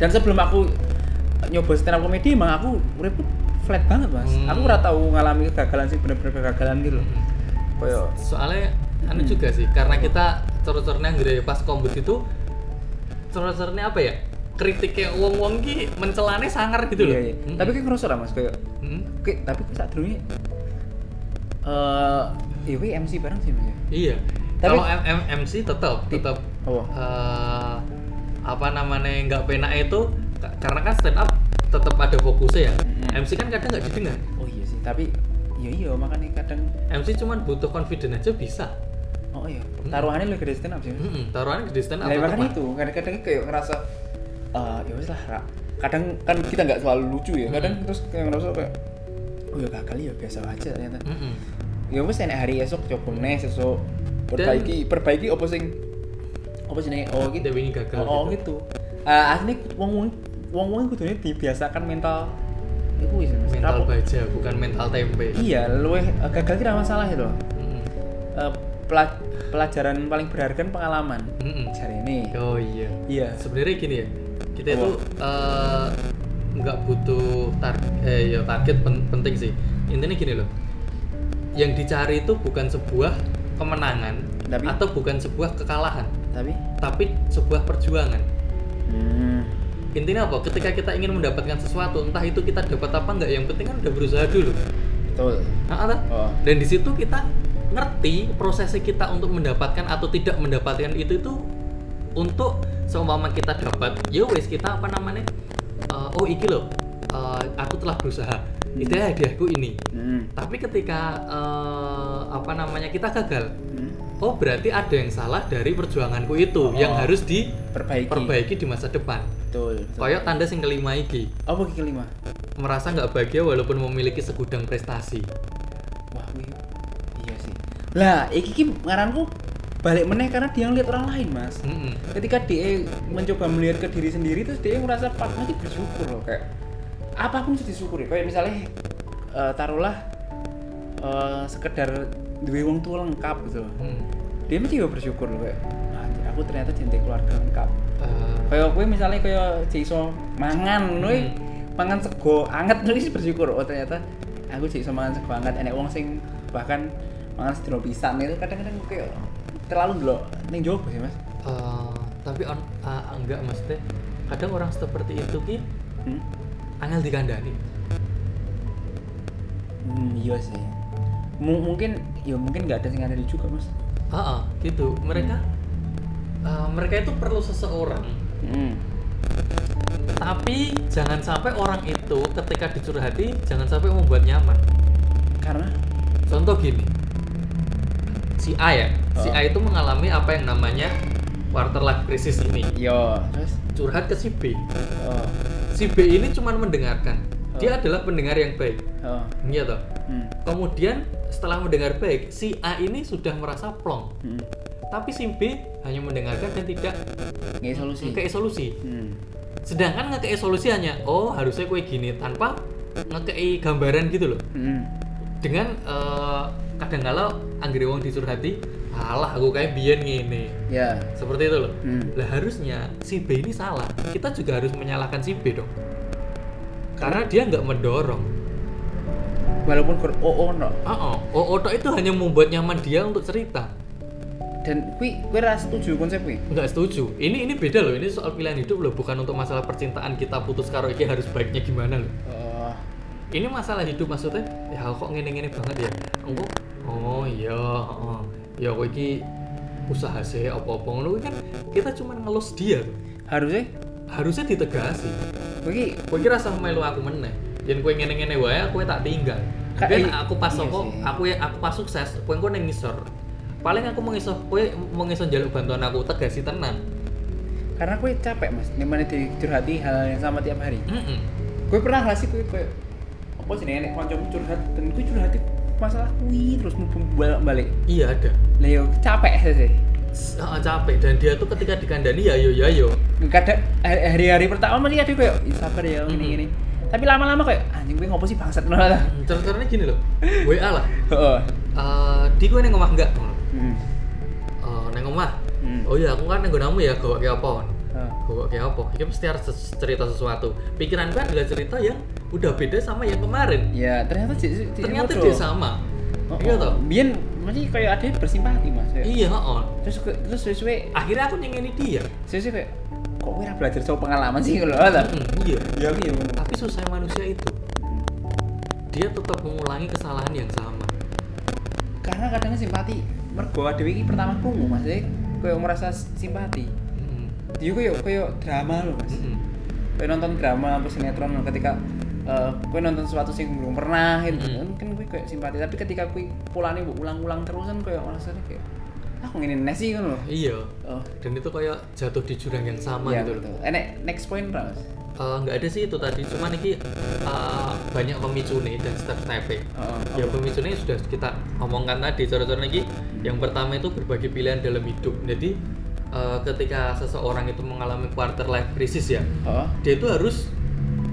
S1: dan sebelum aku nyoba stand up comedy emang aku uripku flat banget mas
S2: Hmm.
S1: aku ora tau ngalami kegagalan sih bener-bener kegagalan gitu loh
S2: Mm-mm.
S1: kayak
S2: soalnya anu
S1: Hmm.
S2: juga sih karena kita terus-terusnya nggak pas kombut itu terus-terusnya apa ya kritiknya wong-wong ki mencelane sangar gitu loh Hmm.
S1: iya, iya.
S2: Mm-mm.
S1: tapi kayak ngerasa lah mas kayak
S2: Mm-mm.
S1: Oke, tapi kok saat dulu eh Iwi MC bareng sih mas ya?
S2: iya
S1: Tapi- Oh.
S2: kalau M- M- MC tetap tetap
S1: Apa?
S2: eh, apa namanya nggak penak itu ka- karena kan stand up tetap ada fokusnya ya
S1: Mm-mm.
S2: MC kan kadang nggak didengar
S1: Oh iya sih, tapi iya iya makanya kadang
S2: MC cuman butuh confident aja bisa
S1: oh iya taruhannya lebih gede stand up sih. Mas.
S2: Mm-mm. taruhannya gede stand up
S1: Nah,
S2: tetep,
S1: makanya
S2: Pak.
S1: Hmm. itu kadang-kadang kayak ngerasa eh ya wes lah Ra. kadang kan kita nggak selalu lucu ya kadang
S2: Mm.
S1: terus kayak ngerasa kayak oh ya gagal ya biasa aja ternyata
S2: Mm-mm.
S1: ya wes enak hari esok coba nih esok perbaiki perbaiki apa sing apa sih nih oh gitu
S2: Dewi ini gagal
S1: oh, gitu.
S2: gitu.
S1: Eh, asli wong wong wong wong kudune dibiasakan mental iku wis Mas.
S2: mental
S1: Rapo-
S2: baja bukan mental tempe
S1: Iya, luweh eh, gagal kira masalah itu.
S2: Mm-mm.
S1: Eh, pela- pelajaran paling berharga kan pengalaman
S2: Mm-mm.
S1: cari ini
S2: oh iya
S1: iya
S2: sebenarnya gini ya kita
S1: Apa?
S2: itu eh, nggak butuh target eh, ya target pen- penting sih intinya gini loh yang dicari itu bukan sebuah kemenangan
S1: Tapi-
S2: atau bukan sebuah kekalahan
S1: tapi
S2: tapi sebuah perjuangan
S1: hmm,
S2: intinya apa ketika kita ingin mendapatkan sesuatu entah itu kita dapat apa nggak yang penting kan udah berusaha dulu
S1: betul
S2: Nah, ada.
S1: oh
S2: dan di situ kita ngerti prosesnya kita untuk mendapatkan atau tidak mendapatkan itu itu untuk seumpama kita dapat ya wes kita apa namanya eh, oh iki loh eh, aku telah berusaha itu hadiahku ini
S1: hmm.
S2: tapi ketika eh, apa namanya kita gagal
S1: hmm.
S2: oh berarti ada yang salah dari perjuanganku
S1: Oh.
S2: itu yang harus diperbaiki
S1: perbaiki
S2: di masa depan
S1: betul, betul.
S2: koyok tanda sing kelima iki
S1: apa yang kelima
S2: merasa nggak bahagia walaupun memiliki segudang prestasi
S1: wah wih. iya sih lah iki ki ngaranku balik meneh karena dia ngeliat orang lain mas
S2: Mm-mm.
S1: ketika dia mencoba melihat ke diri sendiri terus dia merasa pak nanti bersyukur loh kayak apapun itu disyukuri kayak misalnya eh, taruhlah eh, sekedar duwe wong tua lengkap gitu loh
S2: Mm.
S1: dia mesti juga bersyukur loh kayak "Ah, "Anjir, aku ternyata cinta keluarga lengkap
S2: Eh,
S1: kayak gue misalnya kayak cek iso mangan loh
S2: Hmm.
S1: mangan sego anget *laughs* loh ini bersyukur oh ternyata aku cek iso mangan sego anget enek wong sing bahkan mangan sedino pisan itu kadang-kadang kayak terlalu loh ning jowo sih mas
S2: Eh, tapi on, eh, enggak maksudnya kadang orang seperti itu ki
S1: hmm?
S2: angel dikandani
S1: Hmm, iya sih. M- mungkin ya mungkin nggak ada yang ada juga mas.
S2: Heeh, gitu mereka eh, mereka itu perlu seseorang
S1: Hmm.
S2: tapi jangan sampai orang itu ketika dicurhati jangan sampai membuat nyaman
S1: Karena
S2: contoh gini si A ya si
S1: Oh.
S2: A itu mengalami apa yang namanya quarter life crisis ini
S1: yo terus
S2: curhat ke si B
S1: oh
S2: si B ini cuma mendengarkan
S1: Oh.
S2: dia adalah pendengar yang baik
S1: oh
S2: iya toh
S1: hmm.
S2: Kemudian setelah mendengar baik, si A ini sudah merasa plong.
S1: Hmm.
S2: Tapi si B hanya mendengarkan dan tidak
S1: Nggak ada solusi.
S2: ngekei solusi.
S1: Hmm.
S2: Sedangkan ngekei solusi hanya, oh harusnya kue gini, tanpa ngekei gambaran gitu loh.
S1: Hmm.
S2: Dengan eh, kadang kala anggere wong dicurhati, alah aku kayak biyen ngene.
S1: Ya.
S2: Seperti itu loh.
S1: Hmm.
S2: Lah harusnya si B ini salah. Kita juga harus menyalahkan si B dong. Karena dia nggak mendorong.
S1: Walaupun kur oh oh no
S2: Oh, oh, oh, tok itu hanya membuat nyaman dia untuk cerita.
S1: dan kui kui ras setuju konsep kui.
S2: nggak setuju ini ini beda loh ini soal pilihan hidup loh bukan untuk masalah percintaan kita putus karo iki harus baiknya gimana loh
S1: Oh
S2: ini masalah hidup maksudnya ya kok ngene ngene banget ya engko oh iya oh, ya kok iki usaha sih apa apa ngono kan kita cuma ngelus dia tuh.
S1: harusnya
S2: harusnya ditegasi
S1: kui
S2: kowe iki rasa melu aku meneh yen kowe ngene ngene wae aku tak tinggal
S1: Ka-
S2: ben
S1: i-
S2: aku pas
S1: iya
S2: soko
S1: sih.
S2: aku ya- aku pas sukses kowe engko ning ngisor paling aku mengisor kowe mengisor jaluk bantuan aku tegasi tenan
S1: karena kui capek mas. Dimana dicurhati hal yang sama tiap hari.
S2: Mm-mm.
S1: Gue pernah nggak sih gue kayak apa sih nenek kancaku curhat dan gue curhat masalah kui terus mumpung balik balik.
S2: iya ada
S1: Lah yo capek sih.
S2: Ah, capek dan dia tuh ketika dikandani ya yo ya yo
S1: kadang hari- hari-hari pertama masih ada kayak "Ih, sabar ya ini
S2: Mhm.
S1: ini tapi lama-lama kayak anjing gue ngopo sih bangsat ngono lah
S2: caranya gini loh WA lah
S1: heeh
S2: Eh, di gue neng omah enggak
S1: hmm.
S2: Eh, neng omah
S1: Hmm.
S2: oh iya aku kan neng namu ya gawak kayak apa
S1: Heeh.
S2: gawak kayak apa ini mesti harus ses- cerita sesuatu pikiran gue adalah cerita yang udah beda sama yang kemarin
S1: ya ternyata cik, cik- cik-
S2: ternyata
S1: bodoh. Oh,
S2: dia sama iya toh?
S1: biyen mesti kayak ada yang bersimpati mas ya.
S2: iya on
S1: terus ke- terus sesuai
S2: akhirnya aku nyengeni dia
S1: sesuai kayak kok gue ra belajar soal pengalaman sih ngono lah
S2: Mm, iya
S1: ya aku ya ngono.
S2: tapi susah manusia itu dia tetap mengulangi kesalahan yang sama
S1: karena kadang simpati mergo dhewe iki pertama krungu mas ya kayak merasa simpati
S2: Mm,
S1: dia kayak kayak drama loh mas
S2: mm,
S1: Kue nonton drama apa sinetron ketika eh kue nonton sesuatu sing belum pernah gitu
S2: Mm.
S1: kan kan kue kayak simpati tapi ketika kue pulangnya bu ulang-ulang terus kan kue rasanya kayak aku ngini nes sih kan loh
S2: iya
S1: oh
S2: dan itu kayak jatuh di jurang yang sama
S1: iya
S2: gitu loh
S1: betul eh nek- next point Ras
S2: Eh, nggak ada sih itu tadi cuman ini eh, banyak pemicu nih dan step stepnya
S1: oh,
S2: ya pemicunya sudah kita omongkan tadi cara-cara lagi yang pertama itu berbagi pilihan dalam hidup jadi eh, ketika seseorang itu mengalami quarter life crisis ya
S1: oh
S2: dia itu harus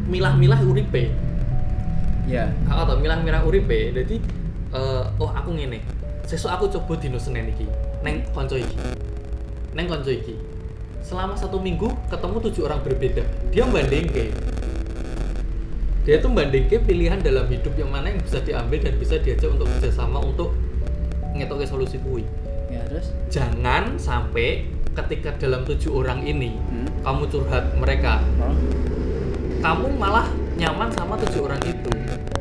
S2: milah-milah uripe
S1: ya
S2: Iya. atau milah-milah uripe jadi eh, oh aku ngene sesuk aku coba dino Senin iki neng konco iki neng konco iki selama satu minggu ketemu tujuh orang berbeda dia bandingke dia tuh bandingke pilihan dalam hidup yang mana yang bisa diambil dan bisa diajak untuk kerjasama untuk ngetoke solusi kui
S1: ya terus
S2: jangan sampai ketika dalam tujuh orang ini
S1: hmm.
S2: kamu curhat mereka
S1: Oh.
S2: kamu malah nyaman sama tujuh orang itu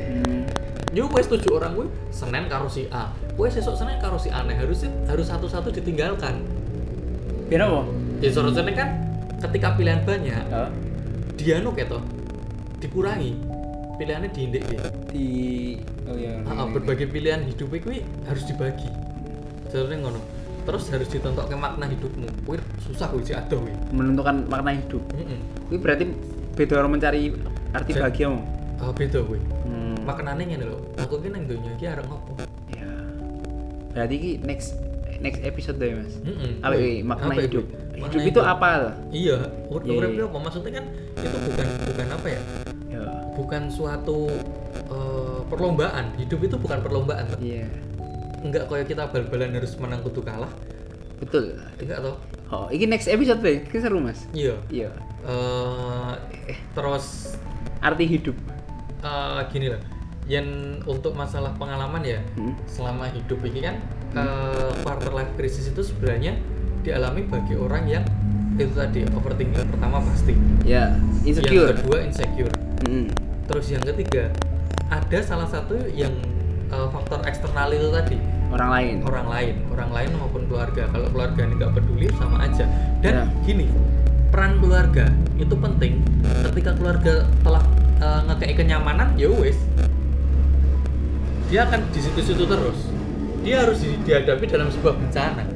S1: Hmm.
S2: Yo wes tujuh orang gue Senin karo si A. Gue sesuk Senin karo si A. Nah, harus harus satu-satu ditinggalkan.
S1: Hmm. Biar apa?
S2: Ya seharusnya kan ketika pilihan banyak,
S1: Oh,
S2: dia nu gitu dikurangi. Pilihannya diindik deh.
S1: di oh ya.
S2: Ah, ah, berbagai pilihan hidupnya gue harus dibagi. Seharusnya ngono. Terus harus ditontok ke makna hidupmu. Gue susah gue sih aduh gue.
S1: menentukan makna hidup.
S2: Mm-mm.
S1: Ini berarti beda orang mencari arti
S2: Jadi-
S1: bahagia mau.
S2: Ah, beda gue.
S1: Hmm.
S2: Maknanya ngene loh. Aku ki nang donya iki arep ngopo?
S1: Ya. Berarti ini next next episode deh mas.
S2: Mm-mm.
S1: Apa
S2: Woi,
S1: ini? makna
S2: apa
S1: hidup?
S2: Hmm. Makna
S1: Hidup itu apa? lah?
S2: Iya, ur-
S1: Iya,
S2: urip
S1: iya.
S2: apa maksudnya kan itu bukan bukan apa ya?
S1: Ya.
S2: Bukan suatu eh, perlombaan. Hidup itu bukan perlombaan. Toh.
S1: Iya.
S2: Enggak kayak kita bal-balan harus menang kudu kalah.
S1: Betul.
S2: Enggak toh?
S1: Oh, ini next episode deh. Ini seru mas.
S2: Iya.
S1: Iya.
S2: Eh, terus
S1: Arti hidup.
S2: eh, gini lah. Yang untuk masalah pengalaman ya,
S1: Hmm.
S2: selama hidup ini kan eh, quarter life crisis itu sebenarnya dialami bagi orang yang itu tadi overthinking pertama pasti.
S1: Ya.
S2: Yang
S1: Insecure.
S2: kedua insecure.
S1: Hmm.
S2: Terus yang ketiga, ada salah satu yang eh, faktor eksternal itu tadi,
S1: Orang lain.
S2: orang lain, orang lain maupun keluarga. Kalau keluarga ini nggak peduli sama aja.
S1: Ya.
S2: Dan gini, peran keluarga itu penting. Ketika keluarga telah eh, ngekei kenyamanan, ya wes. Dia akan di situ-situ terus. Dia harus di- dihadapi dalam sebuah bencana.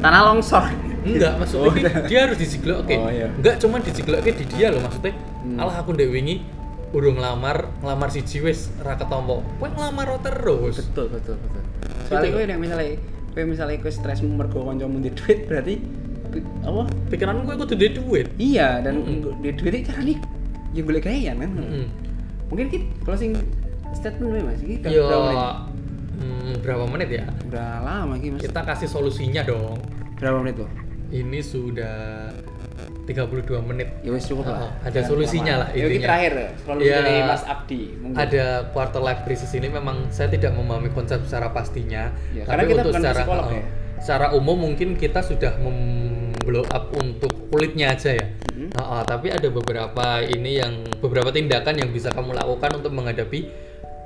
S1: Tanah longsor.
S2: Enggak, maksudnya
S1: Oh,
S2: ki-
S1: iya.
S2: dia harus dijiglok
S1: Oh, iya.
S2: Enggak cuma dijiglok di dia loh maksudnya.
S1: Hmm.
S2: Alah aku ndek wingi urung ngelamar, ngelamar siji wis ra ketompo. Kowe ngelamar ro
S1: *laughs*
S2: terus.
S1: betul betul betul soalnya
S2: Gitu.
S1: gue yang misalnya gue misalnya gue stres mergo konco di duit berarti pi- apa
S2: Pikiran kowe kudu ndek duit.
S1: iya dan
S2: Mm-mm.
S1: nggo- di duit itu cara nih yang boleh gaya kan
S2: Mm.
S1: mungkin kita closing statement nih mas kita
S2: Yo hmm, Ya, berapa menit ya?
S1: udah lama lagi mas
S2: Kita kasih solusinya dong.
S1: berapa menit tuh
S2: Ini sudah 32 menit.
S1: ya wes cukup lah
S2: Oh, ada solusinya lah
S1: ya ini
S2: intinya.
S1: terakhir solusi
S2: Ya.
S1: dari mas Abdi mungkin
S2: Ada quarter life crisis ini memang saya tidak memahami konsep secara pastinya.
S1: Ya,
S2: Tapi
S1: karena kita
S2: untuk
S1: bukan
S2: secara
S1: psikolog
S2: eh,
S1: ya.
S2: secara umum mungkin kita sudah memblow up untuk kulitnya aja ya.
S1: Mhm.
S2: Ah, ah, tapi ada beberapa ini yang beberapa tindakan yang bisa kamu lakukan untuk menghadapi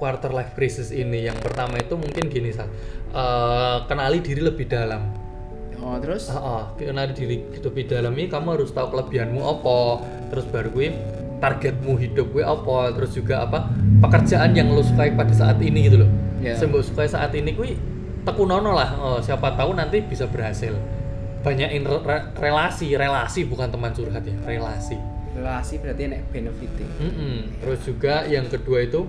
S2: quarter life crisis ini. Yang pertama itu mungkin gini Sal. Eh, kenali diri lebih dalam.
S1: oh terus
S2: Ah, ah, kenali diri lebih dalam ini kamu harus tahu kelebihanmu apa, terus baru gue targetmu hidup gue apa, terus juga apa pekerjaan yang lo sukai pada saat ini gitu loh.
S1: Ya.
S2: Sing mbok sukai saat ini gue tekunono lah, oh, siapa tahu nanti bisa berhasil. Banyakin re- re- relasi, relasi bukan teman curhat ya, relasi.
S1: relasi berarti enak benefiting
S2: Mm-mm. Terus juga yang kedua itu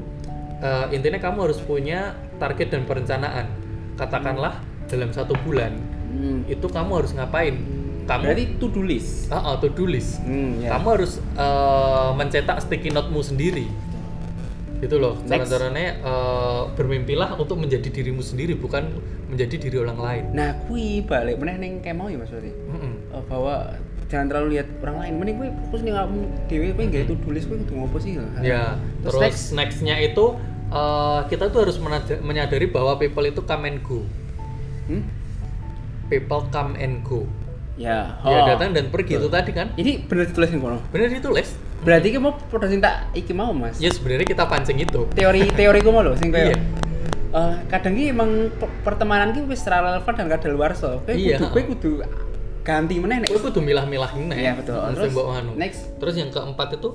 S2: eh, intinya kamu harus punya target dan perencanaan. Katakanlah dalam satu bulan
S1: hmm.
S2: itu kamu harus ngapain? Kamu
S1: berarti to do list
S2: Ah, ah, to-do list.
S1: hmm, ya.
S2: Kamu harus eh, mencetak sticky note-mu sendiri. Gitu loh.
S1: Next.
S2: Cara-caranya eh, bermimpilah untuk menjadi dirimu sendiri bukan menjadi diri orang lain.
S1: nah kui balik meneh neng kayak mau ya mas berarti
S2: Mm-mm.
S1: Eh, bahwa jangan terlalu lihat orang lain mending gue fokus nih kamu dewe gue nggak itu tulis gue kudu ngopo sih
S2: Ya.
S1: Ah. Terus
S2: Terus, next-nya itu eh, kita tuh harus menada- menyadari bahwa people itu come and go.
S1: hmm?
S2: People come and go.
S1: ya
S2: Ya
S1: oh.
S2: datang dan pergi itu tadi kan.
S1: ini bener ditulis yang kono
S2: Bener ditulis.
S1: berarti gue mau pada cinta iki mau mas
S2: Ya sebenarnya kita pancing itu.
S1: teori teori gue mau loh sing kayak
S2: Iya.
S1: eh, kadang ini emang pe- pertemanan gue wis ra relevan dan gak ada luar so gue
S2: Iya.
S1: kudu gue kudu ganti meneh nek
S2: Kowe kudu milah-milah ini.
S1: Iya, betul.
S2: Terus,
S1: Terus, next.
S2: anu. Terus yang keempat itu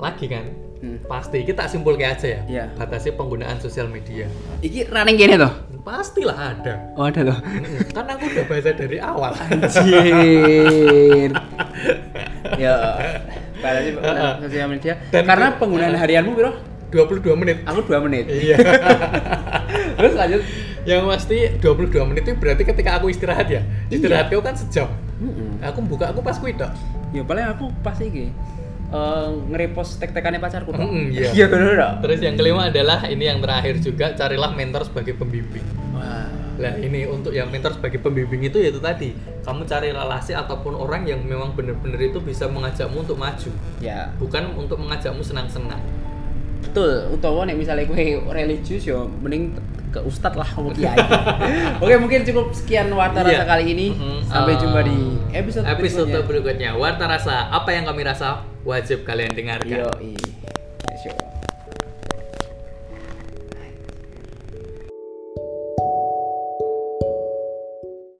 S2: lagi kan
S1: hmm.
S2: pasti kita simpul aja ya
S1: Iya.
S2: batasi penggunaan sosial media
S1: iki running gini tuh
S2: pastilah ada
S1: oh ada loh
S2: kan aku udah baca dari awal
S1: Anjir. ya. Balanya
S2: Heeh.
S1: sosial media.
S2: Dan-
S1: Karena penggunaan harianmu bro,
S2: 22 menit
S1: aku 2 menit.
S2: iya
S1: Terus lanjut.
S2: *laughs* yang pasti 22 menit itu berarti ketika aku istirahat ya istirahat kau kan sejam
S1: Mm-mm.
S2: aku buka aku pas kuwi tok.
S1: Ya paling aku pas iki. eh, ngerepost tek-tekannya pacarku Pak.
S2: Mm-mm, iya.
S1: iya bener nggak?
S2: Terus yang kelima adalah ini yang terakhir juga carilah mentor sebagai pembimbing. Nah ini untuk yang mentor sebagai pembimbing itu yaitu tadi kamu cari relasi ataupun orang yang memang benar-benar itu bisa mengajakmu untuk maju,
S1: ya
S2: bukan untuk mengajakmu senang-senang.
S1: betul utawa nek misalnya gue religius yo mending te- ke ustad lah ngomong
S2: *laughs*
S1: kiai oke mungkin cukup sekian
S2: Iya.
S1: wawancara kali ini
S2: Mhm.
S1: sampai
S2: Eh,
S1: jumpa di episode
S2: episode
S1: berikutnya
S2: berikutnya. Warta rasa apa yang kami rasa wajib kalian dengarkan.
S1: Yoi.